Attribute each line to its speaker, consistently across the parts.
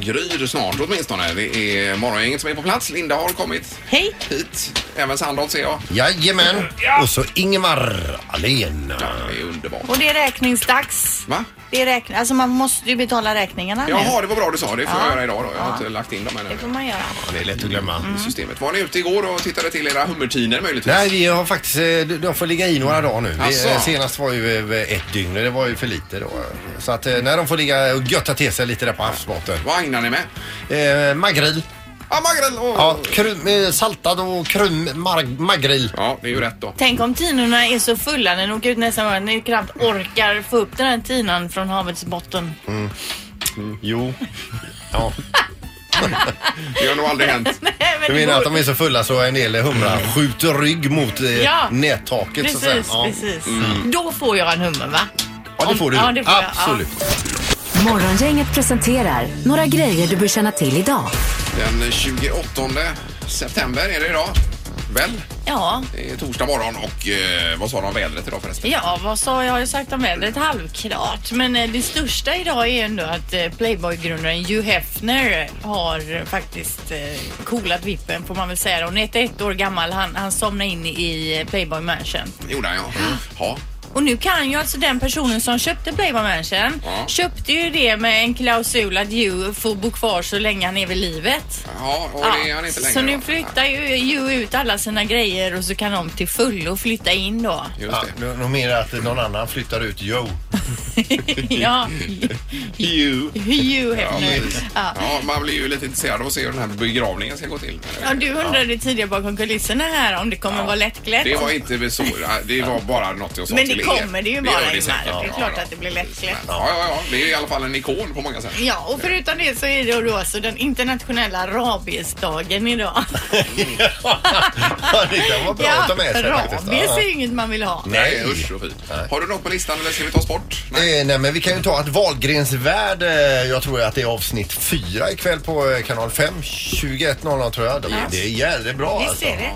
Speaker 1: gryr snart åtminstone. Det är morgongänget som är på plats. Linda har kommit
Speaker 2: Hej!
Speaker 1: hit. Även Sandholt ser jag.
Speaker 3: Jajamän. Och så Ingemar Ahlén.
Speaker 1: Ja, det är underbart.
Speaker 2: Och det är räkningsdags.
Speaker 1: Va?
Speaker 2: Det är räkn... Alltså man måste ju betala räkningarna nu.
Speaker 1: Jaha, det var bra du sa. Det får jag
Speaker 2: Ja.
Speaker 1: göra idag då. Jag har inte
Speaker 2: Ja. Mm.
Speaker 1: lagt in dem ännu.
Speaker 2: Det får man göra.
Speaker 3: Ja, det är lätt att glömma.
Speaker 1: i Systemet. Var ni ute igår och tittade till era hummertiner möjligtvis?
Speaker 3: Nej, vi har faktiskt, eh, de- de får ligga i några dagar nu. Vi, eh,
Speaker 1: Asså.
Speaker 3: senast var ju eh, ett dygn och det var ju för lite då. Så att eh, när de får ligga och götta till sig lite där på havsbotten.
Speaker 1: Vad agnar ni med?
Speaker 3: Eh, magrill.
Speaker 1: Ja, magrill! Och...
Speaker 3: Ja,
Speaker 1: Ja.
Speaker 3: krum, eh, saltad och krum mag, magrill.
Speaker 1: det är ju rätt då.
Speaker 2: Tänk om tinorna är så fulla när de åker ut nästa morgon. Ni knappt orkar få upp den här tinan från havets botten.
Speaker 3: Mm. Jo. Ja.
Speaker 1: Det har nog aldrig hänt.
Speaker 2: Nej, men
Speaker 3: Du
Speaker 2: det
Speaker 3: menar
Speaker 2: går- Mm.
Speaker 3: att de är så fulla så en del humrar skjuter rygg mot eh,
Speaker 2: Ja.
Speaker 3: nättaket så att säga.
Speaker 2: Precis,
Speaker 3: Ja. Mm.
Speaker 2: precis. Då får jag en hummer va?
Speaker 3: ja, det får du.
Speaker 2: Ja, det får jag.
Speaker 3: Absolut.
Speaker 4: Morgongänget presenterar några grejer du bör känna till idag.
Speaker 1: Den 28 september är det idag. Väl?
Speaker 2: Ja.
Speaker 1: Det är torsdag morgon och eh, vad sa de om vädret idag förresten?
Speaker 2: Ja, vad sa jag? Jag har ju sagt om vädret halvklart. Men eh, det största idag är ändå att eh, Playboy-grundaren Hugh Hefner har eh, faktiskt eh, coolat vippen får man väl säga. Hon är 91 år gammal. Han, han somnade in i eh, Playboy Mansion.
Speaker 1: Jo, där ja. ja.
Speaker 2: Och nu kan ju alltså den personen som köpte Playboy Mansion
Speaker 1: Ja.
Speaker 2: köpte ju det med en klausul att Hugh får bo kvar så länge han är vid livet.
Speaker 1: Ja, och det är han inte längre.
Speaker 2: så
Speaker 1: då.
Speaker 2: nu flyttar ju Hugh ut alla sina grejer och så kan de till fullo flytta in då.
Speaker 1: Nej, Just
Speaker 3: Ja,
Speaker 1: det.
Speaker 3: nu- nog mer att någon annan flyttar ut Joe.
Speaker 2: ja,
Speaker 1: You.
Speaker 2: Hugh
Speaker 1: Ja,
Speaker 2: Hefner.
Speaker 1: precis.
Speaker 2: Ja.
Speaker 1: ja, man blir ju lite intresserad av att se hur den här begravningen ska gå till.
Speaker 2: Ja, du undrade tidigare bakom kulisserna här om det kommer vara lättklätt.
Speaker 1: Det var inte så. Det var bara något jag sa
Speaker 2: Men
Speaker 1: till
Speaker 2: det
Speaker 1: er.
Speaker 2: kommer det ju
Speaker 1: gör
Speaker 2: bara
Speaker 1: det
Speaker 2: Ingmar.
Speaker 1: säkert.
Speaker 2: Det är
Speaker 1: Ja,
Speaker 2: klart
Speaker 1: ja.
Speaker 2: att det blir lättklätt.
Speaker 1: Ja, ja, ja. Det är i alla fall en ikon på många sätt.
Speaker 2: Ja, och förutom det så är det då så den internationella rabiesdagen idag.
Speaker 3: Ja, det kan vara bra att ta med sig faktiskt.
Speaker 2: rabies
Speaker 3: Ja.
Speaker 2: är ju inget man vill ha.
Speaker 1: Nej,
Speaker 3: Nej.
Speaker 1: usch och fy. Har du något på listan eller ska vi ta sport? Nej.
Speaker 3: Eh, nej men vi kan ju ta att Wahlgrens värld, eh, jag tror att det är avsnitt 4 ikväll på eh, kanal 5, 21.00 tror jag. Det, det är jävligt bra
Speaker 2: Visst
Speaker 3: alltså.
Speaker 2: är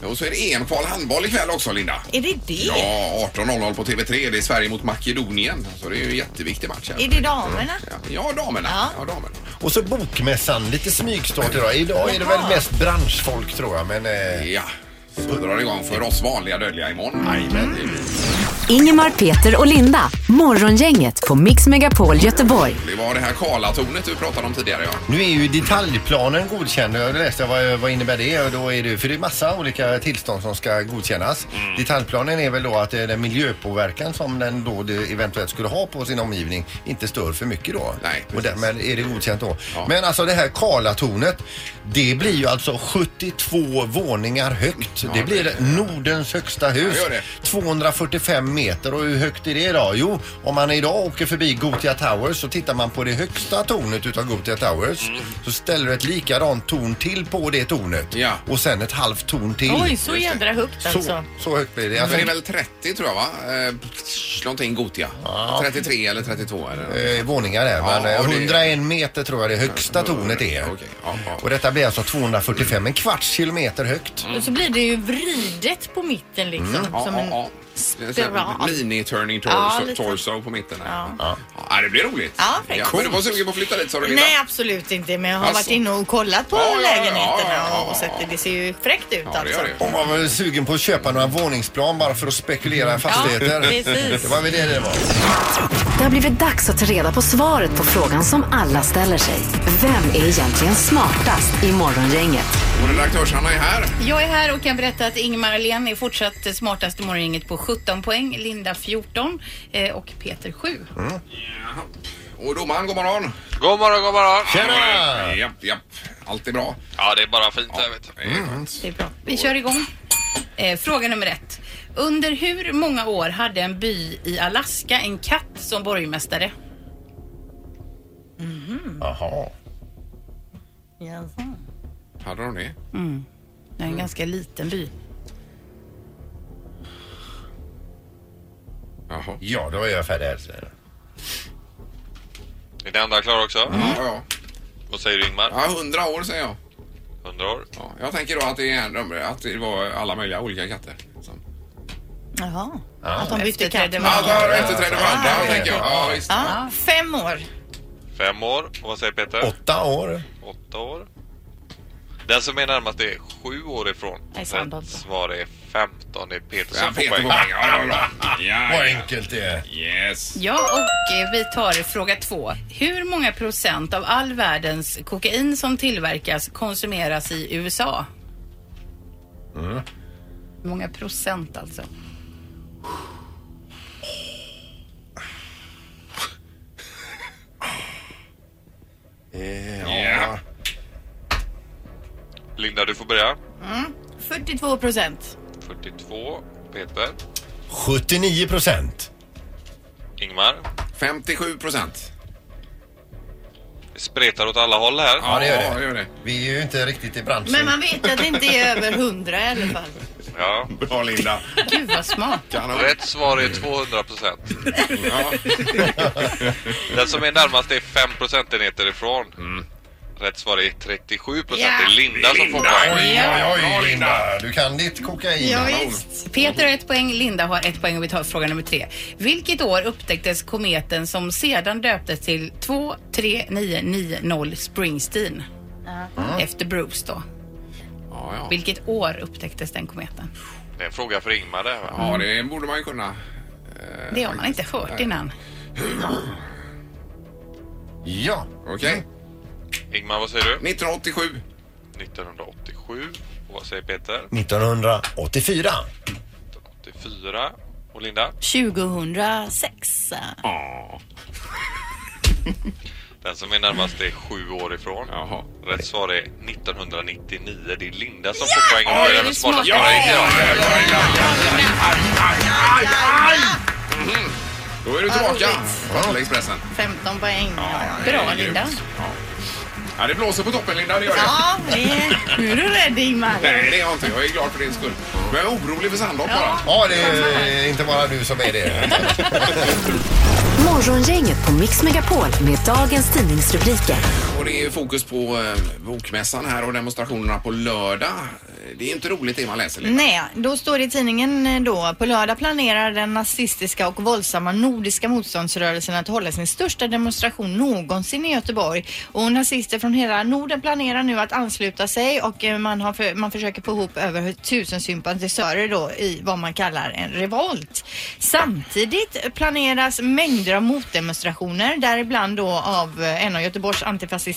Speaker 2: det?
Speaker 1: Och så är det EM-kval handboll ikväll också, Linda.
Speaker 2: Är det det?
Speaker 1: Ja, 18.00 på TV3. Det är Sverige mot Makedonien. Så det är ju en jätteviktig match här.
Speaker 2: Är det damerna?
Speaker 1: Ja, ja damerna. Ja.
Speaker 2: Ja.
Speaker 1: damerna.
Speaker 3: Och så Bokmässan, lite smygstart idag. Idag är det väl
Speaker 2: Jaha.
Speaker 3: mest branschfolk tror jag men... Eh,
Speaker 1: Ja. Så drar det igång för oss vanliga dödliga imorgon. Mm.
Speaker 3: Jajamän.
Speaker 4: Ingemar, Peter och Linda. Morgongänget på Mix Megapol Göteborg.
Speaker 1: Det var det här Karlatornet du pratade om tidigare. Ja.
Speaker 3: Nu är ju detaljplanen godkänd. Jag läste vad, vad innebär det? Och då är det, för det är massa olika tillstånd som ska godkännas.
Speaker 1: Mm.
Speaker 3: Detaljplanen är väl då att eh, den miljöpåverkan som den då det eventuellt skulle ha på sin omgivning inte stör för mycket då.
Speaker 1: Nej,
Speaker 3: och
Speaker 1: precis.
Speaker 3: därmed är det godkänt då.
Speaker 1: Ja.
Speaker 3: Men alltså det här Karlatornet, det blir ju alltså 72 våningar högt. det blir Nordens högsta hus.
Speaker 1: Ja, gör det.
Speaker 3: 245 meter och hur högt är det idag? Jo, om man idag åker förbi Gothia Towers så tittar man på det högsta tornet utav Gothia Towers.
Speaker 1: Mm.
Speaker 3: Så ställer du ett likadant torn till på det tornet
Speaker 1: Ja.
Speaker 3: och sen ett halvt torn till.
Speaker 2: Oj, så
Speaker 1: Just det.
Speaker 2: jädra högt
Speaker 3: så,
Speaker 2: alltså.
Speaker 3: så högt blir det.
Speaker 1: Alltså,
Speaker 3: Alltså,
Speaker 1: det är väl 30 tror jag va? Eh, någonting Gotia. 33 eller 32 eller något.
Speaker 3: eh, våningar där,
Speaker 1: Ja,
Speaker 3: men eh,
Speaker 1: och det- Mm.
Speaker 3: 101 meter tror jag det högsta tornet är.
Speaker 1: Okej, ja, ja.
Speaker 3: Och detta blir alltså 245, en kvarts kilometer högt.
Speaker 1: Mm.
Speaker 2: Och så blir det ju vridet på mitten liksom.
Speaker 1: Ja,
Speaker 2: som
Speaker 1: ja,
Speaker 2: en...
Speaker 1: ja. Det är en sån här
Speaker 2: spiral.
Speaker 1: Mini-turning
Speaker 2: Ja,
Speaker 1: torso,
Speaker 2: lite.
Speaker 1: torso på mitten. Här.
Speaker 2: Ja.
Speaker 1: Ja, det blir roligt.
Speaker 2: Ja, det är
Speaker 1: men
Speaker 2: coolt.
Speaker 1: du var sugen på att flytta dit sa du Linda?
Speaker 2: Nej, absolut inte. Men jag har
Speaker 1: Alltså.
Speaker 2: varit inne och kollat på
Speaker 1: Ja, ja, ja,
Speaker 2: lägenheterna
Speaker 1: ja, ja, ja,
Speaker 2: och sett det. Det ser ju fräckt ut
Speaker 1: Ja, det
Speaker 2: alltså.
Speaker 1: gör det.
Speaker 3: Hon var väl sugen på att köpa några våningsplan bara för att
Speaker 1: Mm.
Speaker 3: spekulera i fastigheter.
Speaker 2: precis.
Speaker 3: Det var väl det det var.
Speaker 4: Det har blivit dags att ta reda på svaret på frågan som alla ställer sig. Vem är egentligen smartast i morgongänget?
Speaker 1: Och redaktörs-Hanna är här.
Speaker 5: Jag är här och kan berätta att Ingemar Ahlén är fortsatt smartast i morgongänget på 17 poäng, Linda 14 eh, och Peter 7.
Speaker 3: Mm.
Speaker 1: Och domaren, god morgon.
Speaker 6: God morgon, god morgon.
Speaker 3: Tjena!
Speaker 1: Japp, japp. Allt är bra.
Speaker 6: Ja, det är bara fint där, vet du.
Speaker 5: Det är bra. Vi kör igång. Eh, fråga nummer ett. Under hur många år hade en by i Alaska en katt som borgmästare?
Speaker 3: Jaha.
Speaker 1: Hade de det?
Speaker 5: Mm. Det är en ganska liten by.
Speaker 1: Jaha.
Speaker 3: Ja, då är jag färdig här.
Speaker 6: Är den andra klar också?
Speaker 1: Mm. Ja, ja.
Speaker 6: Vad säger du, Ingmar?
Speaker 1: ja, hundra år säger jag.
Speaker 6: 100 år?
Speaker 1: Ja, jag tänker då att det är en nummer, att det var alla möjliga olika katter. Som...
Speaker 2: Jaha. Att de bytte
Speaker 5: Efterträdde
Speaker 2: katt.
Speaker 5: man.
Speaker 1: Alla efterträdde varandra, tänker jag. Ja, visst.
Speaker 2: Ja, fem år.
Speaker 6: Fem år. Och vad säger Peter?
Speaker 3: Åtta år.
Speaker 6: Åtta år. Den som är närmast är sju år ifrån.
Speaker 2: Nej, sant
Speaker 6: Rätt
Speaker 2: alltså.
Speaker 6: svar är 15. Det är Peter
Speaker 1: Ja,
Speaker 6: som får
Speaker 1: Peter
Speaker 6: poäng.
Speaker 1: går poäng. Ja, ja, bra.
Speaker 3: Vad
Speaker 1: Ja,
Speaker 3: enkelt det är.
Speaker 1: ja. Yes.
Speaker 5: Ja, och eh, vi tar fråga två. Hur många procent av all världens kokain som tillverkas konsumeras i USA? Hur många procent alltså?
Speaker 1: Ja.
Speaker 6: Linda, du får börja.
Speaker 2: 42 Mm. procent.
Speaker 6: 42. Peter.
Speaker 3: 79 procent.
Speaker 6: Ingmar.
Speaker 1: 57 procent.
Speaker 6: Det spretar åt alla håll här.
Speaker 3: Ja, det gör det.
Speaker 1: Ja, det gör det.
Speaker 3: Vi är ju inte riktigt i branschen.
Speaker 2: Men man vet att det inte är över 100 i alla fall.
Speaker 6: Ja.
Speaker 1: Bra Linda.
Speaker 5: Gud vad smart.
Speaker 1: Kanon.
Speaker 6: Rätt svar är 200 procent.
Speaker 1: Ja.
Speaker 6: Den som är närmast är 5 procentenheter ifrån.
Speaker 1: Mm.
Speaker 6: Rätt svar är 37 procent.
Speaker 5: Ja.
Speaker 6: Det är Linda
Speaker 1: Alltså,
Speaker 6: som får poäng.
Speaker 3: Oj, oj, oj, Linda. Du kan ditt kokain.
Speaker 5: Ja, visst. Peter har ett poäng, Linda har ett poäng och vi tar fråga nummer tre. Vilket år upptäcktes kometen som sedan döptes till 23990 Springsteen?
Speaker 1: Mm.
Speaker 5: Efter Bruce då.
Speaker 1: Ja, ja.
Speaker 5: Vilket år upptäcktes den kometen?
Speaker 6: Det är en fråga för Ingmar det här, va?
Speaker 1: ja, det borde man ju kunna. Eh,
Speaker 5: Det har man inte hört innan.
Speaker 3: Ja.
Speaker 1: Okej.
Speaker 6: Ingmar, vad säger du?
Speaker 1: 1987.
Speaker 6: 1987. Och vad säger Peter?
Speaker 3: 1984.
Speaker 6: 1984. Och Linda?
Speaker 2: 2006.
Speaker 6: Den som är närmast är sju år ifrån.
Speaker 1: Jaha.
Speaker 6: Rätt svar är 1999. Det är Linda som får poäng. Hon
Speaker 5: Oj,
Speaker 6: är
Speaker 5: det
Speaker 6: även
Speaker 5: är
Speaker 6: smartast
Speaker 5: smart.
Speaker 6: på dig.
Speaker 1: Då är du tillbaka.
Speaker 2: roligt.
Speaker 1: Ja. Expressen.
Speaker 2: 15 poäng.
Speaker 5: Bra Linda.
Speaker 1: Ja, det blåser på toppen Linda, det gör det.
Speaker 2: Ja, det- nu är du rädd Ingmar.
Speaker 1: Nej, det är jag inte. Jag är glad för din skull. Men jag är orolig för Sandholt bara.
Speaker 3: Ja, det är inte bara du som är det.
Speaker 4: Morgongänget på Mix Megapol med dagens tidningsrubriker.
Speaker 1: Och det är fokus på eh, bokmässan här och demonstrationerna på lördag. Eh, Det är inte roligt det man läser. Linda.
Speaker 2: Nej, då står det i tidningen eh, då. På lördag planerar den nazistiska och våldsamma nordiska motståndsrörelsen att hålla sin största demonstration någonsin i Göteborg. Och nazister från hela Norden planerar nu att ansluta sig och eh, man, har för, man försöker få ihop över tusen sympatisörer då i vad man kallar en revolt. Samtidigt planeras mängder av motdemonstrationer, däribland då av eh, en av Göteborgs antifascistiska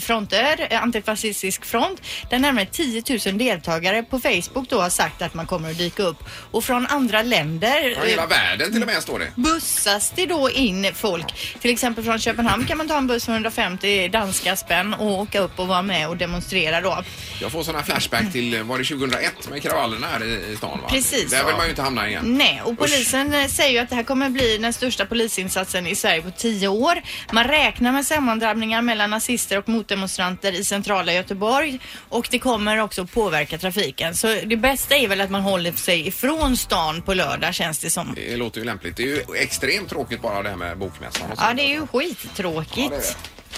Speaker 2: fronter, eh, antifascistisk front, där närmare 10 000 deltagare på Facebook då har sagt att man kommer att dyka upp. Och från andra länder
Speaker 1: Ja,
Speaker 2: eh,
Speaker 1: hela världen till och med står det.
Speaker 2: bussas det då in folk. Till exempel från Köpenhamn kan man ta en buss för 150 danska spänn och åka upp och vara med och demonstrera då.
Speaker 1: Jag får sådana flashback till, eh, var det 2001 med kravallerna här i i stan va?
Speaker 2: Precis.
Speaker 1: Där vill man ju inte hamna igen.
Speaker 2: Nej, och polisen eh, säger ju att det här kommer bli den största polisinsatsen i Sverige på tio år. Man räknar med sammandrabbningar mellan nazister och motdemonstranter i centrala Göteborg och det kommer också att påverka trafiken. Så det bästa är väl att man håller sig ifrån stan på lördag känns det som.
Speaker 1: Det låter ju lämpligt. Det är ju extremt tråkigt bara det här med bokmässan. och så.
Speaker 2: Ja, det är ju
Speaker 1: Ja, det är
Speaker 2: skittråkigt.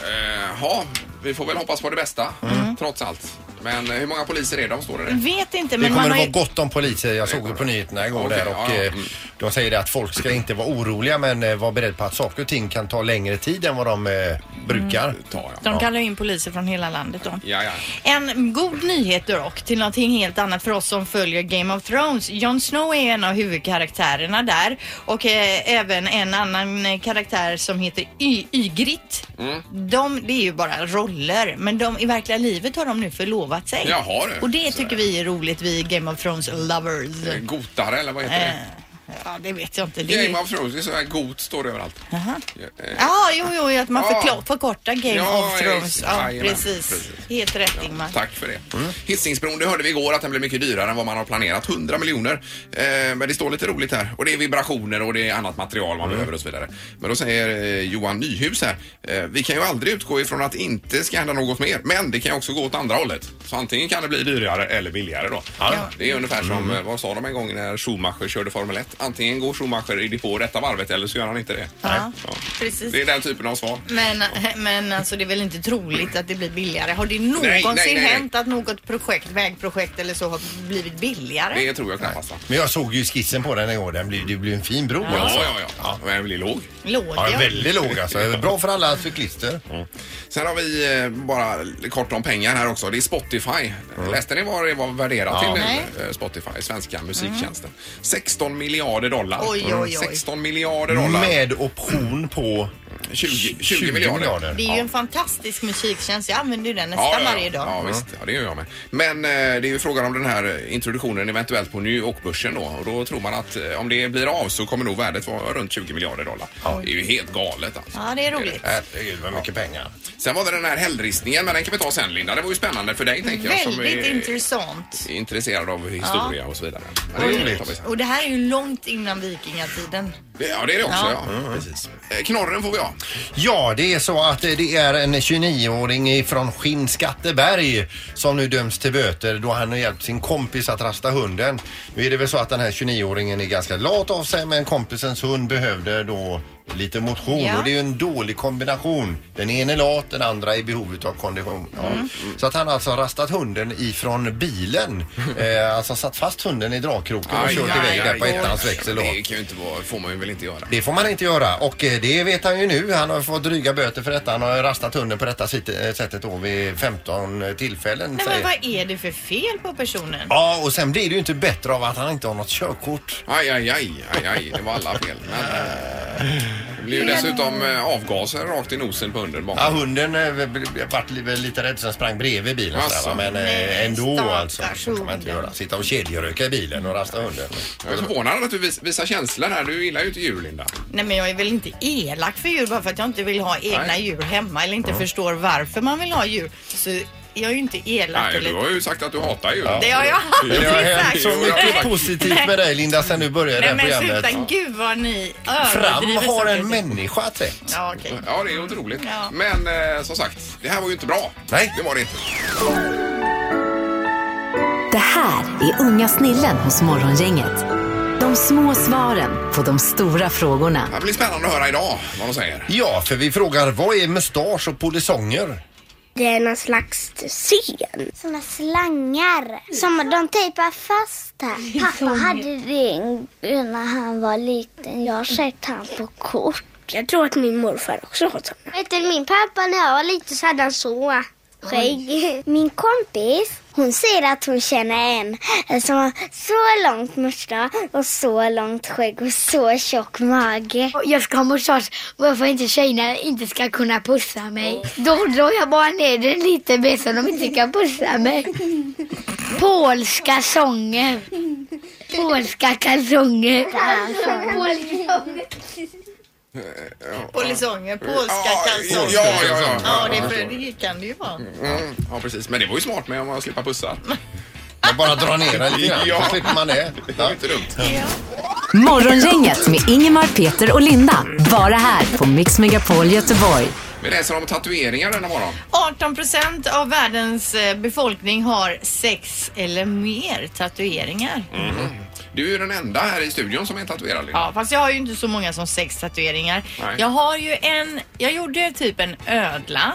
Speaker 1: det. Eh, Ja, vi får väl hoppas på det bästa
Speaker 2: Mm.
Speaker 1: trots allt. Men eh, hur många poliser är de står det där?
Speaker 2: Vet inte,
Speaker 3: Det
Speaker 2: men
Speaker 3: kommer
Speaker 2: man har
Speaker 3: att vara
Speaker 2: ju...
Speaker 3: gott om poliser. Jag såg det på nyheterna igår
Speaker 1: Okej,
Speaker 3: där och
Speaker 1: ja, ja.
Speaker 3: eh, de säger det att folk ska inte vara oroliga men eh, var beredd på att saker och ting kan ta längre tid än vad de eh, brukar.
Speaker 1: Tar jag.
Speaker 2: De kallar ju in poliser från hela landet då.
Speaker 1: Mm, Ja, ja.
Speaker 2: En god nyhet dock till någonting helt annat för oss som följer Game of Thrones. Jon Snow är en av huvudkaraktärerna där och eh, även en annan eh, karaktär som heter Y- Ygritte.
Speaker 7: Mm-hmm.
Speaker 2: De, det är ju bara roller, men de, i verkliga livet har de nu förlovat sig.
Speaker 1: Jaha, du.
Speaker 2: Och det tycker vi är roligt, vi Game of Thrones lovers.
Speaker 1: Eh, Gotare eller vad heter
Speaker 2: Eh,
Speaker 1: det?
Speaker 2: Ja, det vet jag inte. Det är-
Speaker 1: Game of Thrones, det är så här got står det överallt.
Speaker 2: Jaha.
Speaker 1: Ja, eh,
Speaker 2: Ja, jo, jo, att man
Speaker 1: Ja.
Speaker 2: förkla- förkortar Game
Speaker 1: Ja,
Speaker 2: of Thrones.
Speaker 1: exakt.
Speaker 2: Ja,
Speaker 1: Jajamän,
Speaker 2: precis.
Speaker 1: precis.
Speaker 2: Helt rätt Ingmar.
Speaker 1: Tack för det.
Speaker 2: Mm.
Speaker 1: Hisingsbron, det hörde vi igår att den blev mycket dyrare än vad man har planerat. 100 miljoner. Eh, men det står lite roligt här. Och det är vibrationer och det är annat material
Speaker 2: Mm.
Speaker 1: man behöver och så vidare. Men då säger eh, Johan Nyhus här. Eh, vi kan ju aldrig utgå ifrån att inte ska hända något mer. Men det kan ju också gå åt andra hållet. Så
Speaker 3: Mm.
Speaker 1: antingen kan det bli dyrare eller billigare då. Det är ungefär som, eh, vad sa de en gång när Schumacher körde Formel 1? antingen går Schumacher i depå detta varvet eller så gör han inte det.
Speaker 5: Ja,
Speaker 1: Ja.
Speaker 5: precis.
Speaker 1: Det är den typen av svar.
Speaker 2: Men, men alltså det är väl inte troligt att det blir billigare? Har det någonsin
Speaker 1: nej, nej.
Speaker 2: hänt att något projekt, vägprojekt eller så har blivit billigare?
Speaker 1: Det tror jag knappast. va?
Speaker 3: Men jag såg ju skissen på den igår. Den blir, det blir en fin bro.
Speaker 1: Ja,
Speaker 3: alltså.
Speaker 1: ja, ja. ja. Men jag blir låg.
Speaker 2: Låg
Speaker 3: Ja,
Speaker 2: ja.
Speaker 3: väldigt låg alltså. Bra för alla cyklister.
Speaker 1: Mm. Sen har vi eh, bara kort om pengar här också. Det är Spotify. Läste ni vad det var värderat
Speaker 3: Mm. Ja.
Speaker 1: till?
Speaker 2: Nej. Mm.
Speaker 1: eh, Spotify, svenska musiktjänsten. 16 miljarder dollar.
Speaker 2: Oj, oj, oj.
Speaker 1: 16 miljarder dollar.
Speaker 3: Med option på
Speaker 1: 20, 20, miljarder.
Speaker 2: Det är ju en fantastisk musiktjänst. Jag använder ju den nästan
Speaker 1: Ja, ja,
Speaker 2: varje
Speaker 1: ja.
Speaker 2: dag.
Speaker 1: ja visst, ja, det gör jag med. Men eh, det är ju frågan om den här introduktionen eventuellt på New York-börsen då. Och då tror man att eh, om det blir av så kommer nog värdet vara runt 20 miljarder dollar. Det är ju helt galet alltså.
Speaker 2: Ja, det är roligt.
Speaker 3: Herregud vad mycket pengar.
Speaker 1: Sen var det den här hällristningen, men den kan vi ta sen Linda. Det var ju spännande för dig tänker jag. som
Speaker 2: Väldigt
Speaker 1: är-
Speaker 2: intressant.
Speaker 1: är intresserad av historia och så vidare. Men
Speaker 3: Oj.
Speaker 1: det tar vi sen.
Speaker 2: Och det här är ju långt innan vikingatiden.
Speaker 1: Ja, det är det också. Ja. Precis. Eh, Knorren får vi ha.
Speaker 3: Ja, det är så att eh, det är en 29-åring från Skinnskatteberg som nu döms till böter då han har hjälpt sin kompis att rasta hunden. Nu är det väl så att den här 29-åringen är ganska lat av sig men kompisens hund behövde då lite motion
Speaker 2: Ja.
Speaker 3: och det är ju en dålig kombination. Den ena är lat, den andra är i behovet av kondition. Ja. Så att han har alltså rastat hunden ifrån bilen. eh, alltså satt fast hunden i dragkroken och kört iväg där på ettans växel då.
Speaker 1: Det kan ju inte vara, får man ju väl inte göra.
Speaker 3: Det får man inte göra och eh, det vet han ju nu. Han har fått dryga böter för detta. Han har rastat hunden på detta sit- eh, sättet då vid 15 tillfällen.
Speaker 2: Nej, men
Speaker 3: säger-
Speaker 2: vad är det för fel på personen?
Speaker 3: Ja, och sen blir det ju inte bättre av att han inte har något körkort.
Speaker 1: Aj, aj, aj, aj, aj. Det var alla fel. Men, eh, det blir ju dessutom eh, avgaser rakt i nosen på hunden
Speaker 3: Ja,
Speaker 1: bakom.
Speaker 3: hunden eh, b- b- vart li- väl lite rädd så den sprang bredvid bilen.
Speaker 1: Asså.
Speaker 3: Alltså, men eh,
Speaker 2: Nej,
Speaker 3: ändå
Speaker 2: stackars
Speaker 3: alltså. Så kan man inte
Speaker 2: hunden.
Speaker 3: göra. Sitta och kedjeröka i bilen och rasta hunden.
Speaker 1: Jag är förvånad att du vis- visar känslor här. Du gillar ju inte djur, Linda.
Speaker 2: Nej, men jag är väl inte elak för djur bara för att jag inte vill ha egna
Speaker 1: Nej.
Speaker 2: djur hemma eller inte förstår varför man vill ha djur. Så jag är ju inte elak.
Speaker 1: Nej,
Speaker 2: eller...
Speaker 1: du har ju sagt att du hatar djur.
Speaker 2: Det har jag
Speaker 3: Det har
Speaker 2: aldrig
Speaker 3: hänt
Speaker 2: sagt.
Speaker 3: så mycket
Speaker 1: Nej.
Speaker 3: positivt med dig Linda sen du började det
Speaker 2: Nej
Speaker 3: här
Speaker 2: men
Speaker 3: programmet.
Speaker 2: sluta, gud vad ni
Speaker 3: Fram
Speaker 2: överdriver
Speaker 3: har en
Speaker 2: saker.
Speaker 3: människa trätt.
Speaker 2: Ja, okej.
Speaker 1: Ja, det är otroligt.
Speaker 2: Ja.
Speaker 1: Men eh, som sagt, det här var ju inte bra.
Speaker 3: Nej.
Speaker 1: Det var det inte.
Speaker 4: Det här är Unga snillen hos Morgongänget. De små svaren på de stora frågorna.
Speaker 1: Det blir spännande att höra idag vad de säger.
Speaker 3: Ja, för vi frågar vad är mustasch och polisonger?
Speaker 8: Det är någon slags scen. Såna slangar som de tejpar fast här. Pappa hade det en- när han var liten. Jag har sett han på kort. Jag tror att min morfar också har såna. Vet du, min pappa när jag var liten så hade han så. Skägg. Min kompis, hon säger att hon känner en som har så långt mustasch och så långt skägg och så tjock mage.
Speaker 9: Jag ska ha mustasch varför inte tjejerna inte ska kunna pussa mig. Då drar jag bara ner den lite mer så de inte kan pussa mig. Polska sånger. Polska kalsonger. Polska
Speaker 1: Eh,
Speaker 2: Polisonger, polska
Speaker 1: Ja,
Speaker 2: kalsonger.
Speaker 1: ja, ja, ja.
Speaker 2: Ja, det, för, det kan det ju vara.
Speaker 1: Mm, ja, precis. Men det var ju smart med att slippa pussar.
Speaker 3: Man bara drar ner den lite grann
Speaker 1: Ja.
Speaker 3: så slipper man det.
Speaker 1: Det är ju inte dumt.
Speaker 4: Morgongänget med Ingemar, Peter och Linda. Bara här på Mix Megapol Göteborg.
Speaker 1: Vi läser om tatueringar denna morgon.
Speaker 2: 18 procent av världens eh, befolkning har sex eller mer tatueringar.
Speaker 1: Mm. Mhm. Du är ju den enda här i studion som är tatuerad. Linda.
Speaker 2: Ja, fast jag har ju inte så många som sex tatueringar.
Speaker 1: Nej.
Speaker 2: Jag har ju en, jag gjorde typ en ödla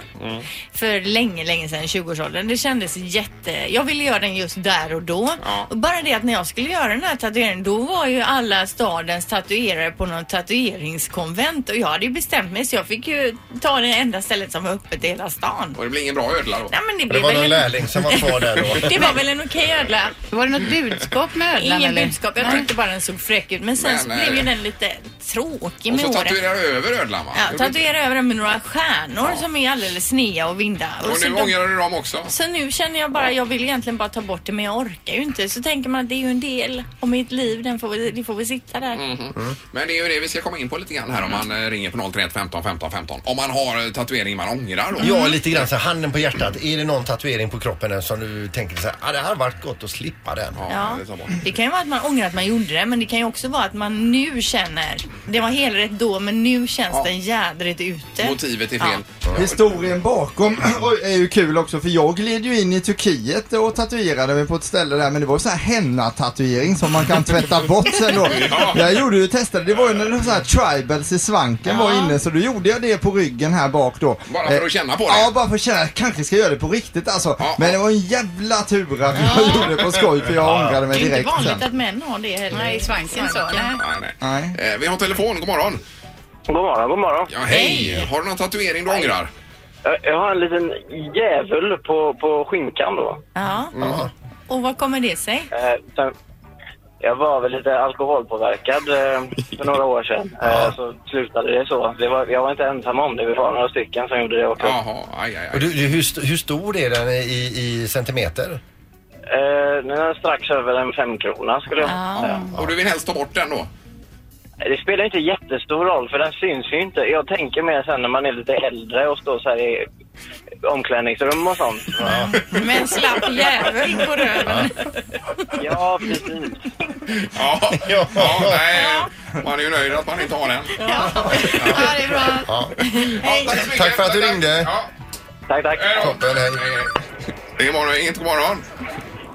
Speaker 2: för länge, länge sedan, 20-årsåldern. Det kändes jätte, jag ville göra den just där och då.
Speaker 1: Ja.
Speaker 2: Och bara det att när jag skulle göra den här tatueringen, då var ju alla stadens tatuerare på någon tatueringskonvent och jag hade ju bestämt mig så jag fick ju ta det enda stället som var öppet i hela stan.
Speaker 1: Och det blir ingen bra ödla då.
Speaker 2: Nej, men det,
Speaker 3: Det
Speaker 2: blev
Speaker 3: var någon
Speaker 2: väl en,
Speaker 3: lärling som var kvar där då.
Speaker 2: det var väl en okej ödla.
Speaker 5: Var det något budskap med ödlan
Speaker 2: Ingen
Speaker 5: eller?
Speaker 2: budskap. Jag tyckte bara den såg fräck ut. Men sen
Speaker 1: Men,
Speaker 2: så
Speaker 1: eh,
Speaker 2: blev ju den lite tråkig med
Speaker 1: Och så
Speaker 2: åren.
Speaker 1: tatuerar du över ödlan va?
Speaker 2: Ja, tatuera över den med några stjärnor som är alldeles snea och vinda.
Speaker 1: Och
Speaker 2: så,
Speaker 1: nu
Speaker 2: då,
Speaker 1: ångrar du dem också.
Speaker 2: så nu känner jag bara, jag vill egentligen bara ta bort det men jag orkar ju inte. Så tänker man att det är ju en del av mitt liv, den får, vi- det får vi sitta där.
Speaker 1: Mm. Mhm.
Speaker 3: Mm.
Speaker 1: Men det är ju det vi ska komma in på lite grann här om
Speaker 2: Mm.
Speaker 1: man eh, ringer på 031 15 15 15. Om man har eh, tatuering man ångrar då.
Speaker 3: Ja, lite grann så här, handen på hjärtat. Är det någon tatuering på kroppen som du tänker så här, ah, det hade varit gott att slippa den?
Speaker 1: Ja,
Speaker 2: Ja.
Speaker 1: det tar bort.
Speaker 2: Det kan ju vara att man
Speaker 7: ångrar att man gjorde det men det kan ju också vara att man nu känner, det var helrätt då men nu känns
Speaker 1: Ja.
Speaker 7: den jädrigt ute.
Speaker 1: Motivet är fel.
Speaker 10: Historien bakom är ju kul också för jag gled ju in i Turkiet och tatuerade mig på ett ställe där men det var ju så här henna-tatuering som man kan tvätta bort sen då. Jag gjorde ju testade, det var ju när det var så här tribals i svanken var inne så då gjorde jag det på ryggen här bak då.
Speaker 1: Bara för att
Speaker 10: Eh,
Speaker 1: känna på det?
Speaker 10: Ja, bara för att känna, kanske ska jag göra det på riktigt alltså.
Speaker 1: Ja.
Speaker 10: Men det var en jävla tur att jag gjorde det på skoj för jag ångrade mig
Speaker 7: Det är inte
Speaker 10: direkt
Speaker 7: vanligt
Speaker 10: sen.
Speaker 7: att män har det heller.
Speaker 5: Nej, svanken så. Nej.
Speaker 1: Nej, nej.
Speaker 10: Nej.
Speaker 1: Eh, vi har telefon, god morgon.
Speaker 10: God morgon, god morgon.
Speaker 1: Ja, hej. Har du någon tatuering du ångrar?
Speaker 10: Jag, har en liten djävul på, på skinkan då.
Speaker 7: Ja.
Speaker 1: Mm.
Speaker 7: Och vad kommer det sig?
Speaker 10: Eh, sen, jag var väl lite alkoholpåverkad eh, för några år sedan. Eh, så slutade det så. Det var, jag var inte ensam om det. Vi var några stycken som gjorde det också.
Speaker 1: Jaha, aj, aj,
Speaker 3: Och
Speaker 1: aj.
Speaker 3: du, du, hur, st- hur stor är den i, i centimeter?
Speaker 10: Eh, nu är den strax över en femkrona skulle jag säga. Eh,
Speaker 1: Och du vill helst ta bort den då?
Speaker 10: Det spelar inte jättestor roll för den syns ju inte. Jag tänker mer sen när man är lite äldre och står så här i omklädningsrum och sånt.
Speaker 7: Med en slapp jävel på röven.
Speaker 10: Ja, precis.
Speaker 1: Ja, ja, nej. Man är ju nöjd att man inte har den.
Speaker 7: Ja, det är bra.
Speaker 1: Ja, tack, så mycket.
Speaker 3: Tack för att du ringde.
Speaker 1: Ja,
Speaker 10: Tack, tack.
Speaker 1: hej då.
Speaker 3: Toppen, hej.
Speaker 1: Det är morgon, inget god morgon.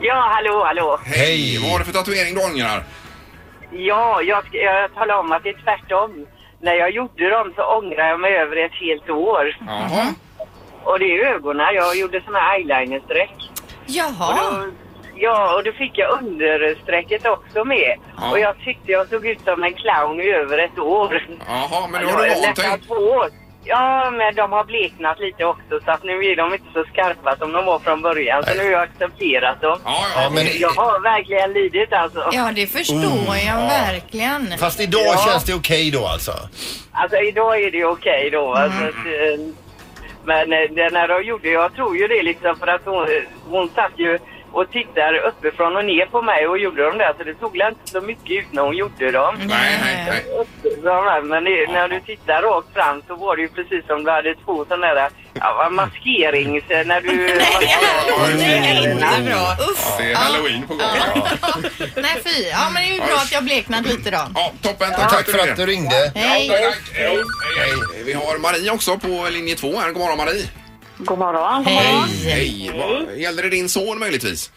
Speaker 10: Ja, hallå, hallå.
Speaker 1: Hej. Vad har du för tatuering du ångrar?
Speaker 10: Ja, jag ska jag talar om att det är tvärtom. När jag gjorde dem så ångrade jag mig över ett helt år.
Speaker 1: Jaha.
Speaker 10: Och det är ögonen. Jag gjorde såna här eyelinerstreck.
Speaker 7: Jaha.
Speaker 10: Och- Ja, och då fick jag understrecket också med.
Speaker 1: Ja.
Speaker 10: Och jag tyckte jag såg ut som en clown i över ett år.
Speaker 1: Jaha, men nu har du
Speaker 10: Ja,
Speaker 1: vant
Speaker 10: nästan
Speaker 1: dig.
Speaker 10: två år. Ja, men de har bleknat lite också så att nu är de inte så skarpa som de var från början. Så nu har jag accepterat dem.
Speaker 1: Ja,
Speaker 3: Ja,
Speaker 1: ja.
Speaker 3: men,
Speaker 10: Jag har verkligen lidit alltså.
Speaker 7: Ja, det förstår
Speaker 1: Oh.
Speaker 7: jag verkligen.
Speaker 3: fast idag
Speaker 10: Ja.
Speaker 3: känns det okej då alltså?
Speaker 10: Alltså idag är det okej då.
Speaker 1: Mm.
Speaker 10: Alltså, att, eh, men eh, den här jag gjorde, jag tror ju det liksom för att hon, hon satt ju och tittade uppifrån och ner på mig och gjorde dem där så det såg väl inte så mycket ut när hon gjorde dem.
Speaker 1: Nej, nej, nej.
Speaker 10: Upp- de här, Men det, när du tittar rakt fram så var det ju precis som du hade två sådana där ja, vad maskerings... När du...
Speaker 7: Inte bra. Uff.
Speaker 1: Det är halloween på gång. Ja,
Speaker 7: Nej fy. Ja men det är ju bra att jag bleknat lite då.
Speaker 1: ja toppen. Tack,
Speaker 3: Tack för att du ringde.
Speaker 1: Ja,
Speaker 7: Hej.
Speaker 1: tack. Hej då. Hej, hej. Vi har Marie också på linje två här. God morgon Marie.
Speaker 10: God morgon.
Speaker 7: Hej.
Speaker 1: Hej. Vad- Gäller det din son möjligtvis?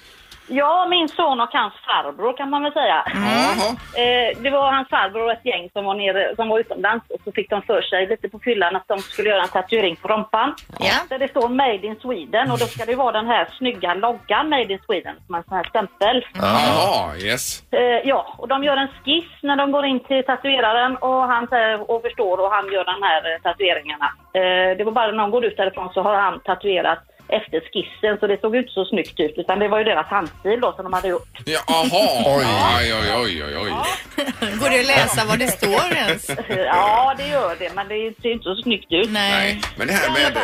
Speaker 10: Ja, min son och hans farbror kan man väl säga.
Speaker 1: Jaha.
Speaker 10: Eh, det var hans farbror och ett gäng som var, nere, som var utomlands och så fick de för sig lite på fyllan att de skulle göra en tatuering på rumpan.
Speaker 7: Ja.
Speaker 10: Där det står Made in Sweden och då ska det vara den här snygga loggan Made in Sweden som en sån här stämpel.
Speaker 3: Mm.
Speaker 1: Jaha, yes.
Speaker 10: Eh, ja, och de gör en skiss när de går in till tatueraren och han säger och förstår och han gör de här eh, tatueringarna. Eh, det var bara när de går ut därifrån så har han tatuerat efter skissen så det såg inte så snyggt ut utan det var ju deras handstil då som de hade gjort.
Speaker 1: Ja, Jaha. Oj, oj, oj, oj, oj.
Speaker 7: Går det att läsa vad det står ens?
Speaker 10: Ja, det gör det, men det ser inte så snyggt ut.
Speaker 7: Nej.
Speaker 1: Nej, men det här med... eh,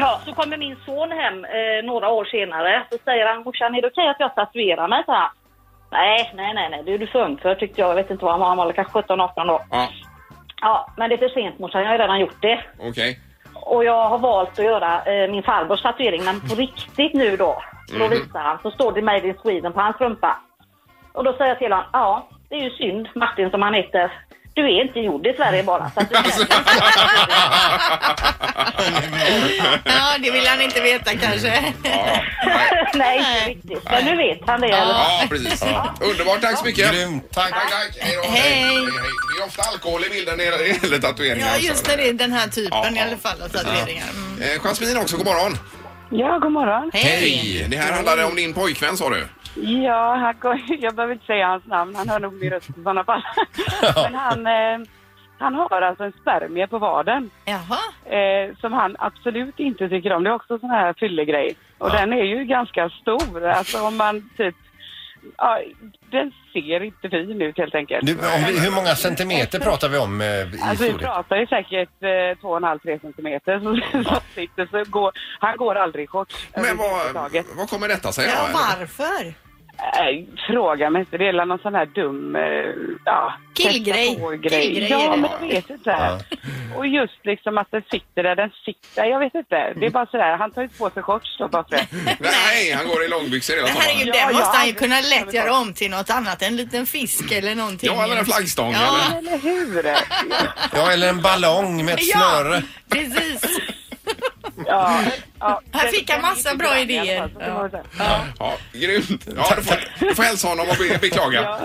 Speaker 10: Ja, så kommer min son hem eh, några år senare. Så säger han, morsan är det okej att jag tatuerar mig? Så här, nej, nej, nej, nej, det är du för ung för tyckte jag. Jag vet inte vad han var, han var väl kanske 17-18 då.
Speaker 1: Ja,
Speaker 10: Ja, men det är för sent morsan, jag har ju redan gjort det.
Speaker 1: okej.
Speaker 10: Och jag har valt att göra eh, min farbrors tatuering, men på riktigt nu då. Så Då visar han, så står det Made in Sweden på hans rumpa. Och då säger jag till honom, ja, det är ju synd, Martin som han heter. Du är inte gjord i Sverige bara. Så att du
Speaker 7: Ja, det vill han inte veta kanske.
Speaker 1: Mm. Ja, nej.
Speaker 10: Nej, inte riktigt. Men nu vet han det. Ja.
Speaker 1: ja, precis. Underbart, tack så mycket.
Speaker 3: Grymt, tack.
Speaker 1: Tack, tack. Hej då.
Speaker 7: Hej.
Speaker 1: Det är ofta alkohol i bilden när det gäller tatueringar.
Speaker 7: Ja, just när det är den här
Speaker 1: Ja,
Speaker 7: typen i
Speaker 1: ja.
Speaker 7: alla fall av tatueringar. Mm.
Speaker 1: Eh, Jasmine också, god morgon.
Speaker 10: ja, god morgon.
Speaker 7: Hej.
Speaker 1: Det här handlade om din pojkvän sa du?
Speaker 10: Ja, han går, jag behöver inte säga hans namn. Han hör nog min röst i sådana fall. Men han, eh, han har alltså en spermie på vaden
Speaker 7: Jaha.
Speaker 10: eh, som han absolut inte tycker om. Det är också sån här fyllegrej. Och den är ju ganska stor. Alltså om man typ... Ja, den ser inte fin ut helt enkelt.
Speaker 3: Du, om vi, hur många centimeter pratar vi om eh, i
Speaker 10: Alltså vi
Speaker 3: storlek?
Speaker 10: pratar ju säkert eh, två och en halv, tre centimeter. Så, så, sitter- så går, han går aldrig i shorts.
Speaker 1: Men vad,
Speaker 10: överhuvudtaget.
Speaker 1: vad kommer detta sig
Speaker 7: Ja,
Speaker 1: av?
Speaker 7: varför?
Speaker 11: Nej, Äh, fråga mig inte. Det är väl någon sån här dum... eh, Ja,
Speaker 5: Killgrej.
Speaker 11: testa på-grej.
Speaker 5: Killgrej är
Speaker 11: Ja,
Speaker 5: det.
Speaker 11: men jag vet inte. Och just liksom att den sitter där den sitter. Jag vet inte. Det är bara sådär. Han tar ju på sig shorts då bara för det.
Speaker 1: Nej, han går i långbyxor hela sommaren.
Speaker 2: Herregud,
Speaker 11: Ja,
Speaker 2: det
Speaker 11: jag
Speaker 2: måste
Speaker 11: har
Speaker 2: han ju
Speaker 11: aldrig
Speaker 2: kunna
Speaker 11: sett
Speaker 2: lätt
Speaker 11: något
Speaker 2: göra
Speaker 11: sånt.
Speaker 2: om till något annat. En liten fisk eller någonting.
Speaker 1: Ja, eller en flaggstång.
Speaker 2: Ja.
Speaker 1: Eller?
Speaker 11: Eller hur?
Speaker 3: Ja, eller en ballong med ett snöre.
Speaker 2: precis.
Speaker 11: Ja, ja.
Speaker 2: Här fick jag
Speaker 11: Den- den
Speaker 2: massa
Speaker 11: är
Speaker 2: bra
Speaker 11: grann i alla
Speaker 2: idéer.
Speaker 11: fall, så det var så här.
Speaker 1: Ja, grymt. Ja, du, får, du får hälsa honom och be, beklaga.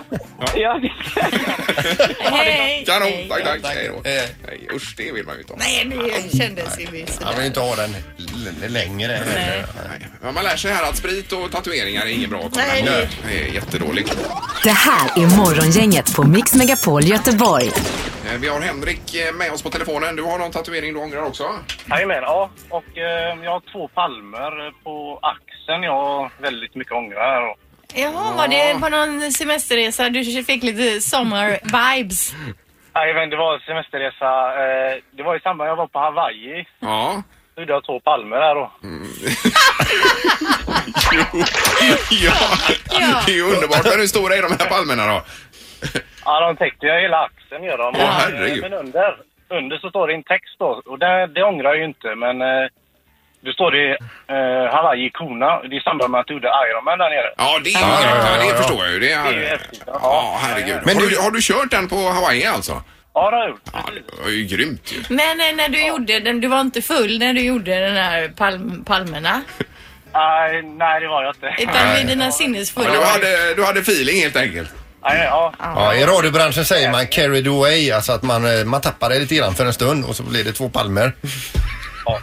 Speaker 11: Ja, det-
Speaker 2: Hej!
Speaker 1: Kanon,
Speaker 2: hej.
Speaker 1: tack, tack. Hej då.
Speaker 3: Eh.
Speaker 1: Nej, usch, det vill man ju inte ha.
Speaker 2: Nej, det kändes ju
Speaker 3: Han vill
Speaker 2: sådär.
Speaker 3: inte ha den l- längre.
Speaker 2: Nej.
Speaker 1: Nej. Men man lär sig här att sprit och tatueringar är inget bra. att komma
Speaker 2: Nej,
Speaker 1: ihåg.
Speaker 2: det-
Speaker 1: det är jättedåligt.
Speaker 4: Det här är Morgongänget på Mix Megapol Göteborg.
Speaker 1: Eh, Vi har Henrik eh, med oss på telefonen. Du har någon tatuering du ångrar också?
Speaker 11: Jajamän, ja. Och eh, jag har två palmer på axeln. Jag har väldigt mycket ångrar.
Speaker 2: Jaha, var det på någon semesterresa du fick lite sommar-vibes?
Speaker 11: Jajamän, det var en semesterresa. Eh, det var i samband med jag var på Hawaii.
Speaker 1: Ja.
Speaker 11: Då gjorde jag två palmer där då.
Speaker 1: Mm. ja. Det är ju underbart. Men hur stora är de här palmerna då?
Speaker 11: Ja, de täckte jag hela axeln gör de.
Speaker 1: Åh, herregud.
Speaker 11: Men under, under så står det en text då. Och det, det ångrar jag ju inte, men... Eh, då står det eh, Hawaii Kona. Det är i samband med att du gjorde Ironman där nere.
Speaker 1: Ja, det, är ja,
Speaker 3: ja, ja,
Speaker 1: det
Speaker 3: ja.
Speaker 1: förstår jag ju. Det
Speaker 11: Det är ju
Speaker 1: är,
Speaker 11: häftigt.
Speaker 1: ja, herregud.
Speaker 3: Men
Speaker 1: Men har,
Speaker 3: du-
Speaker 1: du, har du kört den på Hawaii alltså?
Speaker 11: Ja, det har jag gjort.
Speaker 1: Ja, det var ju grymt ju.
Speaker 2: Men eh, när du gjorde den, du var inte full när du gjorde den här palm, palmerna?
Speaker 11: Nej, nej, det var jag inte.
Speaker 2: Utan vid dina sinnesfulla...
Speaker 1: Ja, du, hade, du hade feeling helt enkelt.
Speaker 11: Nej, ja.
Speaker 3: Ja, I radiobranschen säger man carried away, alltså att man, eh, man tappar det lite grann för en stund och så blir det två palmer.
Speaker 11: Ja.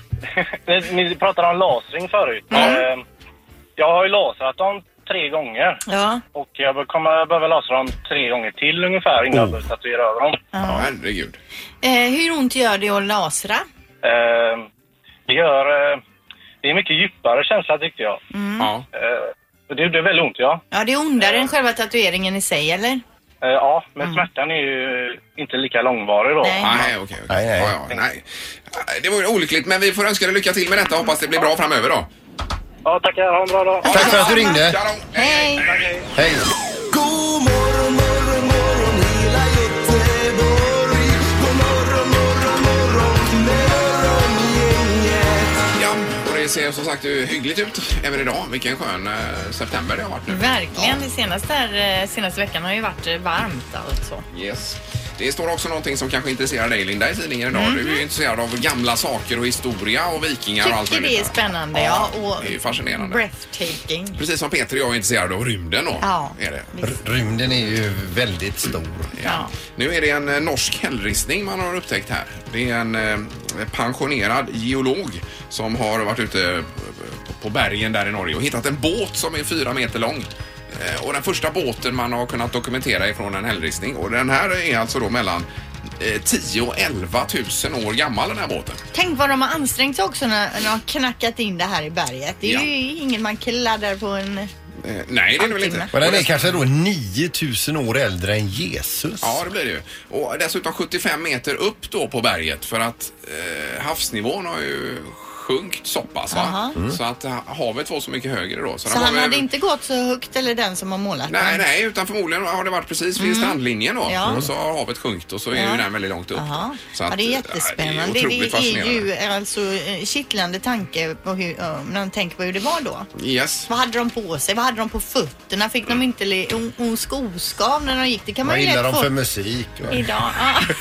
Speaker 11: ni, ni pratade om lasring förut.
Speaker 1: Mm.
Speaker 11: Eh, Jag har ju lasrat dem tre gånger.
Speaker 2: Ja.
Speaker 11: Och jag bör- kommer behöva lasra dem tre gånger till ungefär innan jag behöver tatuera över dem.
Speaker 1: Oh. Ja, herregud.
Speaker 2: Eh, hur ont gör det att lasra?
Speaker 11: Eh, det gör... Eh, det är mycket djupare känsla tyckte jag.
Speaker 1: Mm. Ja.
Speaker 11: Eh, och det gjorde väldigt ont, ja.
Speaker 2: Ja, det är ondare än själva tatueringen i sig, eller?
Speaker 11: Eh, ja, men
Speaker 1: Mm.
Speaker 11: smärtan är ju inte lika långvarig då.
Speaker 2: Nej.
Speaker 1: Nej, okej. okej.
Speaker 3: Nej, nej.
Speaker 1: Ja, ja, nej. Det var ju olyckligt, men vi får önska dig lycka till med detta. Hoppas det blir bra framöver då.
Speaker 11: Ja, tackar. Ha en bra dag.
Speaker 3: Tack för att du ringde.
Speaker 1: Shalom.
Speaker 2: Hej!
Speaker 3: Hej.
Speaker 1: Ja, och det ser som sagt ju hyggligt ut även idag. Vilken skön eh, september det har varit nu.
Speaker 2: Verkligen. Det senaste här, eh, senaste veckan har ju varit eh, varmt alltså.
Speaker 1: Yes. Det står också någonting som kanske intresserar dig Linda i tidningen idag. Du är ju intresserad av gamla saker och historia och vikingar och allt
Speaker 2: Mhm. Tycker det är spännande, ja. Och
Speaker 1: det är ju fascinerande.
Speaker 2: breathtaking.
Speaker 1: Precis som Peter och jag är intresserade av rymden då.
Speaker 2: Ja,
Speaker 1: Är det.
Speaker 2: visst.
Speaker 3: Rymden är ju väldigt stor.
Speaker 1: Ja. Nu är det en eh, norsk hällristning man har upptäckt här. Det är en eh, pensionerad geolog som har varit ute eh, på- på bergen där i Norge och hittat en båt som är fyra meter lång. Eh, Och den första båten man har kunnat dokumentera ifrån en hällristning och den här är alltså då mellan eh, 10 och 11 000 år gammal den här båten.
Speaker 2: Tänk vad de har ansträngt sig också när när de har knackat in det här i berget. Det är
Speaker 1: Ja.
Speaker 2: ju inget man kladdar på en...
Speaker 1: Eh, Nej, det är det väl inte.
Speaker 2: Halvtimme.
Speaker 3: Men den är kanske då 9000 år äldre än Jesus.
Speaker 1: Ja, det blir det ju. Och dessutom 75 meter upp då på berget för att eh, havsnivån har ju sjunkit så pass va? Så att eh, havet var så mycket högre då.
Speaker 2: Mm. Så
Speaker 1: den var
Speaker 2: han
Speaker 1: väl-
Speaker 2: hade inte gått så högt eller den som har målat
Speaker 1: Nej,
Speaker 2: den.
Speaker 1: nej, utan förmodligen har det varit precis vid strandlinjen då.
Speaker 2: Mm. Ja.
Speaker 1: Och så har havet sjunkit och så är ju
Speaker 2: Ja.
Speaker 1: den väldigt långt upp.
Speaker 2: Jaha.
Speaker 1: Så
Speaker 2: ja,
Speaker 1: att,
Speaker 2: det är
Speaker 1: eh,
Speaker 2: jättespännande.
Speaker 1: Det är otroligt fascinerande.
Speaker 2: ju alltså eh, kittlande tanke på hur, eh, när man tänker på hur det var då.
Speaker 1: Yes.
Speaker 2: Vad hade de på sig? Vad hade de på fötterna? Fick de inte le- on, on skoskav när de gick? Det kan man
Speaker 3: Vad
Speaker 2: ju
Speaker 3: gillar
Speaker 2: lätt
Speaker 3: de
Speaker 2: få.
Speaker 3: för musik? va?
Speaker 2: Idag. Ja.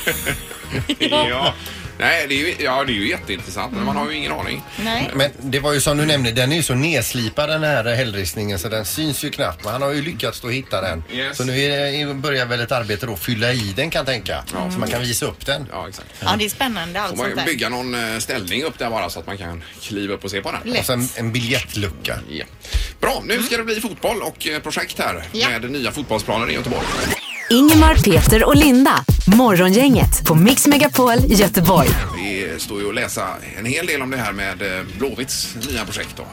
Speaker 1: Ja. Nej, det är ju, ja, det är ju jätteintressant men man har ju ingen aning.
Speaker 2: Nej.
Speaker 3: Men det var ju som du nämnde, den är ju så nedslipad den här hällristningen så den syns ju knappt. Men han har ju lyckats då hitta den.
Speaker 1: Yes.
Speaker 3: Så nu är det, börjar väl ett arbete då att fylla i den kan jag tänka. Så man kan visa upp den.
Speaker 1: Ja, exakt.
Speaker 2: Ja, det är spännande allt
Speaker 1: Får
Speaker 2: sånt
Speaker 1: man
Speaker 2: där.
Speaker 1: bygga någon eh, ställning upp där bara så att man kan kliva upp och se på den.
Speaker 3: Och sen en biljettlucka.
Speaker 1: Ja. Bra, nu ska det bli fotboll och eh, projekt här
Speaker 2: Ja.
Speaker 1: med nya fotbollsplaner i Göteborg.
Speaker 4: Ingemar, Peter och Linda. Morgongänget på Mix Megapol Göteborg.
Speaker 1: Det står ju att läsa en hel del om det här med eh, Blåvitts nya projekt då.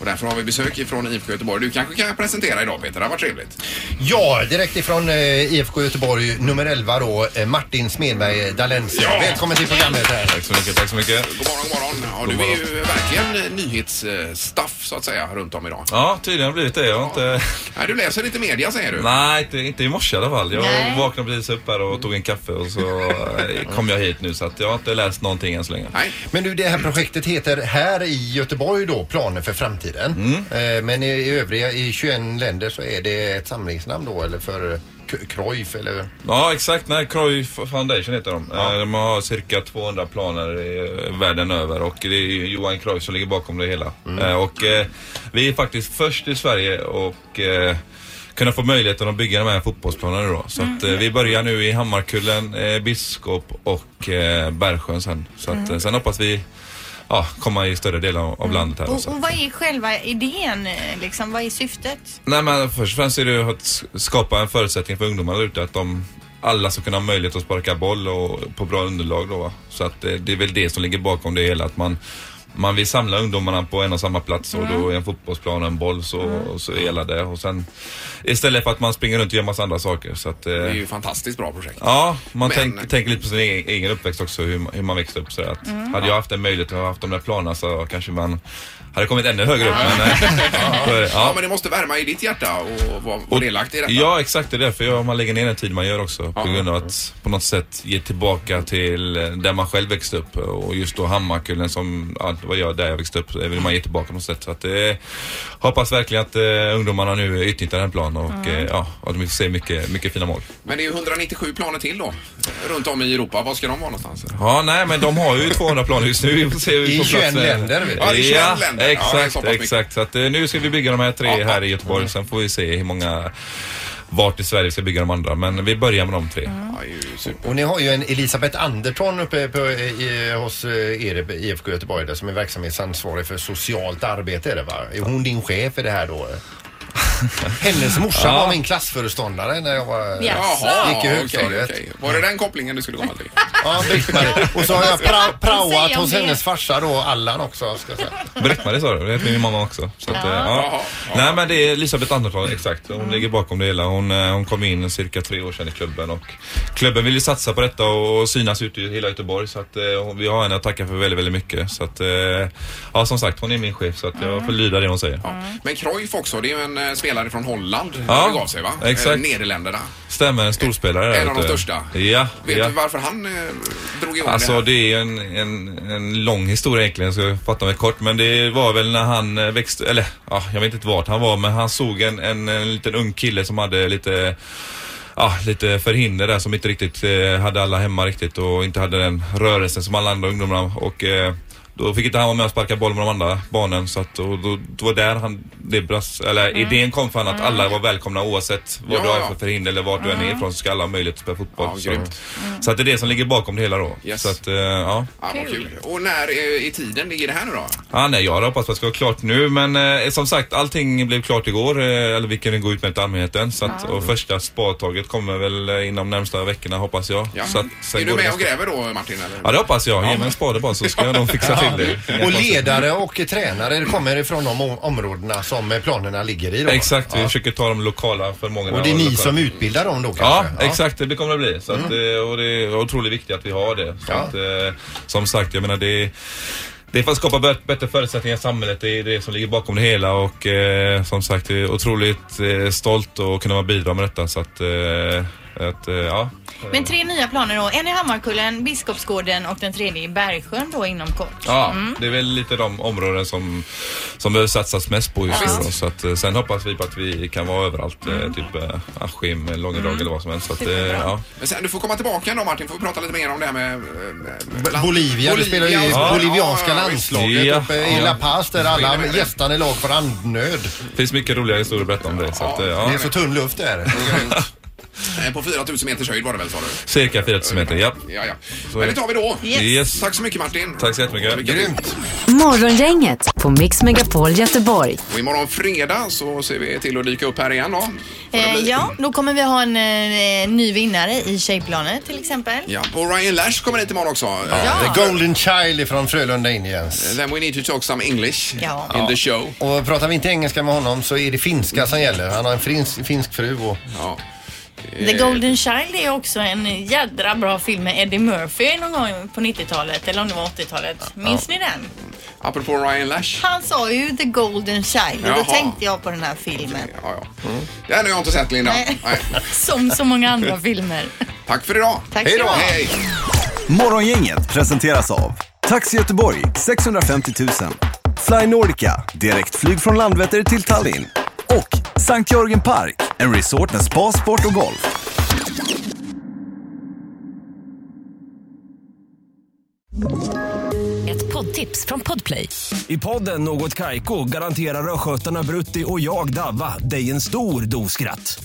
Speaker 1: Och därför har vi besök ifrån IFK Göteborg. Du kanske kan presentera idag Peter, det har varit trevligt.
Speaker 3: Ja, direkt ifrån eh, IFK Göteborg nummer 11 då, eh, Martin Smedberg Dalensia.
Speaker 1: Ja.
Speaker 3: Välkommen till programmet här.
Speaker 12: Tack så mycket, tack så mycket.
Speaker 1: God morgon, god morgon. Ja, du är ju verkligen eh, nyhetsstaff så att säga runt om idag.
Speaker 12: Ja, tydligen har det blivit det. Jag har inte...
Speaker 1: Nej, du läser inte media säger du.
Speaker 12: Nej, inte, inte i morse i alla fall. Jag
Speaker 1: Nej.
Speaker 12: vaknade precis upp här och tog en kaffe och så eh, kom jag hit nu så att jag har inte läst någonting än så länge.
Speaker 3: Men du, det här projektet heter här i Göteborg då, Planer för framtiden. Eh, Men i, i övriga, i 21 länder så är det ett samlingsnamn då, eller för K- Cruyff eller?
Speaker 12: Ja, exakt. Nej, Croy Foundation heter de. Eh, De har cirka 200 planer i eh, världen över och det är ju Johan Croy som ligger bakom det hela. Eh, Och eh, vi är faktiskt först i Sverige och eh, kunna få möjligheten att bygga de här fotbollsplanerna då. Så att, eh, vi börjar nu i Hammarkullen, eh, Biskop och eh, Bergsjön sen. Så att, eh, sen hoppas vi ja, komma i större delar av, av landet här. då.
Speaker 2: Och,
Speaker 3: alltså.
Speaker 12: Så att-
Speaker 2: och vad är själva idén eh, liksom? Vad är syftet?
Speaker 12: Nej men först och främst är det ju att s- skapa en förutsättning för ungdomarna där ute att de alla ska kunna ha möjlighet att sparka boll och på bra underlag då va. Så att eh, det är väl det som ligger bakom det hela att man man vill samla ungdomarna på en och samma plats och
Speaker 1: Mm.
Speaker 12: då är en fotbollsplan och en boll så, och så är hela det. Och sen istället för att man springer runt och gör massa andra saker. Så att, eh,
Speaker 1: Det är ju ett fantastiskt bra projekt.
Speaker 12: Ja, man
Speaker 1: Men-
Speaker 12: tänk, tänker lite på sin egen, egen uppväxt också, hur, man- hur man växte upp. Så att,
Speaker 1: Mm.
Speaker 12: Hade jag haft en möjlighet att ha haft de där planerna så kanske man hade kommit ännu högre upp. Men, eh, för-
Speaker 1: ja. men det måste värma i ditt hjärta och vara vara delaktig i detta.
Speaker 12: Ja, exakt. Det är därför jag, man lägger ner den tid man gör också. På grund av att på något sätt ge tillbaka till eh, där man själv växte upp. Och just då Hammarkullen som, ja, det var jag, där jag växte upp, eh, vill man ge tillbaka på något sätt. Så att, eh, hoppas verkligen att eh, ungdomarna nu utnyttjar den planen och eh, ja, att de får se mycket, mycket fina mål.
Speaker 1: Men det är ju 197 planer till då, runt om i Europa. Var ska de vara någonstans?
Speaker 12: Ja, nej, men de har ju 200 plan just nu. Vi får se hur vi
Speaker 1: I
Speaker 12: får plats
Speaker 1: 21
Speaker 12: med-
Speaker 1: länder, vet du. Ja, i 21
Speaker 12: ja,
Speaker 1: länder. Ja, det är
Speaker 12: Exakt,
Speaker 1: så pass mycket. Mm.
Speaker 12: exakt. Så att, eh, nu ska vi bygga de här tre här i Göteborg. Sen får vi se hur många, vart i Sverige vi ska bygga de andra. Men vi börjar med de tre.
Speaker 3: Och ni har ju en Elisabeth Andersson uppe på, i, hos eh, er i IFK Göteborg där, som är verksamhetsansvarig för socialt arbete. Är, det, va? är hon din chef i det här då? Hennes morsa
Speaker 12: Ja.
Speaker 3: var min klassföreståndare när jag var,
Speaker 1: Jaha,
Speaker 3: gick i
Speaker 1: okej,
Speaker 3: högstadiet.
Speaker 1: okej. Var det den kopplingen du skulle komma till?
Speaker 3: Ja, Britt-Marie. Och så har jag pra- praoat
Speaker 1: Säg om
Speaker 3: hos
Speaker 1: det.
Speaker 3: hennes farsa då, Allan också. Ska jag säga.
Speaker 12: Britt-Marie sa det, det heter min mamma också. Så att, eh, ja. Nej men det är Elisabeth Andersson, exakt. Hon
Speaker 1: Mm.
Speaker 12: ligger bakom det hela. Hon, eh, hon kom in cirka tre år sedan i klubben och klubben vill ju satsa på detta och synas ute i hela Göteborg. Så att eh, hon- vi har henne att tacka för väldigt, väldigt mycket. Så att, eh, ja som sagt, hon är min chef så att
Speaker 1: Mm.
Speaker 12: jag får lyda det hon säger.
Speaker 1: Men Cruyff också, det är ju en eh, spelare från Holland.
Speaker 12: Ja,
Speaker 1: Ja, gav sig, va? Eh,
Speaker 12: exakt.
Speaker 1: Nederländerna.
Speaker 12: Stämmer, en storspelare där
Speaker 1: En av de
Speaker 12: ute.
Speaker 1: största.
Speaker 12: Ja,
Speaker 1: Vet
Speaker 12: ja.
Speaker 1: du varför han eh, drog igång
Speaker 12: Alltså
Speaker 1: det?
Speaker 12: det är en, en, en lång historia egentligen, så jag fattar mig kort. Men det var väl när han eh, växte, eller ja, jag vet inte vart han var, men han såg en, en, en liten ung kille som hade lite Ja, lite förhinder där som inte riktigt eh, hade alla hemma riktigt och inte hade den rörelsen som alla andra ungdomar och eh, då fick inte han vara med och sparka boll med de andra barnen så att och då, det var där han, det brast, eller idén kom för han att alla var välkomna oavsett vad
Speaker 1: Mm. Ja,
Speaker 12: du har
Speaker 1: ja.
Speaker 12: för förhinder eller vart du
Speaker 3: Mm.
Speaker 12: än är ifrån så ska alla ha möjlighet att spela fotboll.
Speaker 1: Ja,
Speaker 12: så.
Speaker 1: grymt.
Speaker 12: så att det är det som ligger bakom det hela då. Så att, eh, ja.
Speaker 1: Ja, vad kul. Och när eh, i tiden ligger det här nu då?
Speaker 12: Ja, nej, jag hade hoppats på att det ska vara klart nu men eh, som sagt allting blev klart igår, eh, eller vi kunde gå ut med till allmänheten. Så att, Och första spadtaget kommer väl eh, inom närmsta veckorna hoppas jag.
Speaker 1: Ja.
Speaker 12: Så att, sen
Speaker 1: är du
Speaker 12: går det
Speaker 1: med och
Speaker 12: ganska-
Speaker 1: gräver då Martin? Eller?
Speaker 12: Ja det hoppas jag. Ge mig en spade bara så ska jag nog fixa till det. Inga
Speaker 3: Och
Speaker 12: konstigheter.
Speaker 3: ledare och tränare kommer ifrån de o- områdena som eh, planerna ligger i då.
Speaker 12: Exakt, vi
Speaker 3: Ja.
Speaker 12: försöker ta de lokala förmågorna.
Speaker 3: Och det är ni
Speaker 12: lokala-
Speaker 3: som utbildar dem då
Speaker 12: Ja,
Speaker 3: kanske? Mm.
Speaker 12: exakt. Det kommer det bli. Så att, eh, och det är otroligt viktigt att vi har det. Så att, eh, som sagt, jag menar det det är för att skapa bätt- bättre förutsättningar i samhället. Det är det som ligger bakom det hela och eh, som sagt, jag är otroligt eh, stolt att kunna vara bidra med detta. Så att, eh, att eh, ja.
Speaker 2: Men tre nya planer då. En i Hammarkullen, Biskopsgården och den tredje i Bergsjön då inom kort.
Speaker 12: Ja,
Speaker 2: Mm.
Speaker 12: det är väl lite de områden som, som behöver satsas mest på just
Speaker 2: Ja. Mm.
Speaker 12: nu. Då. Så att, eh, sen hoppas vi på att vi kan vara överallt, eh, typ eh, Askim, Långedrag eller vad som helst. Så att, eh, ja.
Speaker 1: Men sen, du får komma tillbaka då Martin, får vi prata lite mer om det här med... eh, med
Speaker 3: Bolivia, du spelar ju i
Speaker 1: Ja.
Speaker 3: bolivianska
Speaker 1: Ja,
Speaker 3: landslaget
Speaker 12: Ja.
Speaker 3: uppe i La Paz där alla gästande lag får andnöd.
Speaker 12: Det finns mycket roliga historier att berätta om det. Så att, eh, ja.
Speaker 3: Det är så tunn luft där.
Speaker 1: visst. eh, på 4000 meters höjd var det väl sa du?
Speaker 12: Cirka 4000 meter, ja.
Speaker 1: Ja, ja.
Speaker 12: Så
Speaker 1: Men
Speaker 12: är
Speaker 1: det tar vi då.
Speaker 12: Yes. Yes.
Speaker 1: Tack så mycket Martin.
Speaker 12: Tack så jättemycket.
Speaker 1: Lycka till.
Speaker 4: Morgongänget på Mix Megapol Göteborg.
Speaker 1: Och imorgon fredag så ser vi till att dyka upp här igen då.
Speaker 2: Eh, ja, då kommer vi ha en eh, ny vinnare i tjejplanet till exempel.
Speaker 1: Ja, och Ryan Lash kommer hit imorgon också.
Speaker 2: Ja.
Speaker 3: The Golden Child ifrån Frölunda Indians.
Speaker 1: Then we need to talk some English
Speaker 3: Ja.
Speaker 1: in the show.
Speaker 3: Och pratar vi inte engelska med honom så är det finska som gäller. Han har en finsk, finsk fru och...
Speaker 1: Ja.
Speaker 2: The
Speaker 1: eh,
Speaker 2: Golden Child är också en jädra bra film med Eddie Murphy någon gång på 90-talet eller om det var 80-talet. Minns ni den?
Speaker 1: Apropå Ryan Lash.
Speaker 2: Han sa ju The Golden Child och
Speaker 1: Jaha.
Speaker 2: då tänkte jag på den här filmen.
Speaker 1: Ja, ja. Den Mm. har jag inte sett Linda.
Speaker 2: Nej.
Speaker 1: Nej.
Speaker 2: Som så många andra filmer.
Speaker 1: Tack för idag.
Speaker 2: Tack Hej ska då. du ha.
Speaker 1: Hej.
Speaker 13: Morgongänget presenteras av Taxi Göteborg 650 000 Fly Nordica, direktflyg från Landvetter till Tallinn och Sankt Jörgen Park, en resort med spa, sport och golf.
Speaker 14: Ett poddtips från Podplay. I podden Något Kaiko garanterar östgötarna Brutti och jag, Davva, dig en stor dos skratt.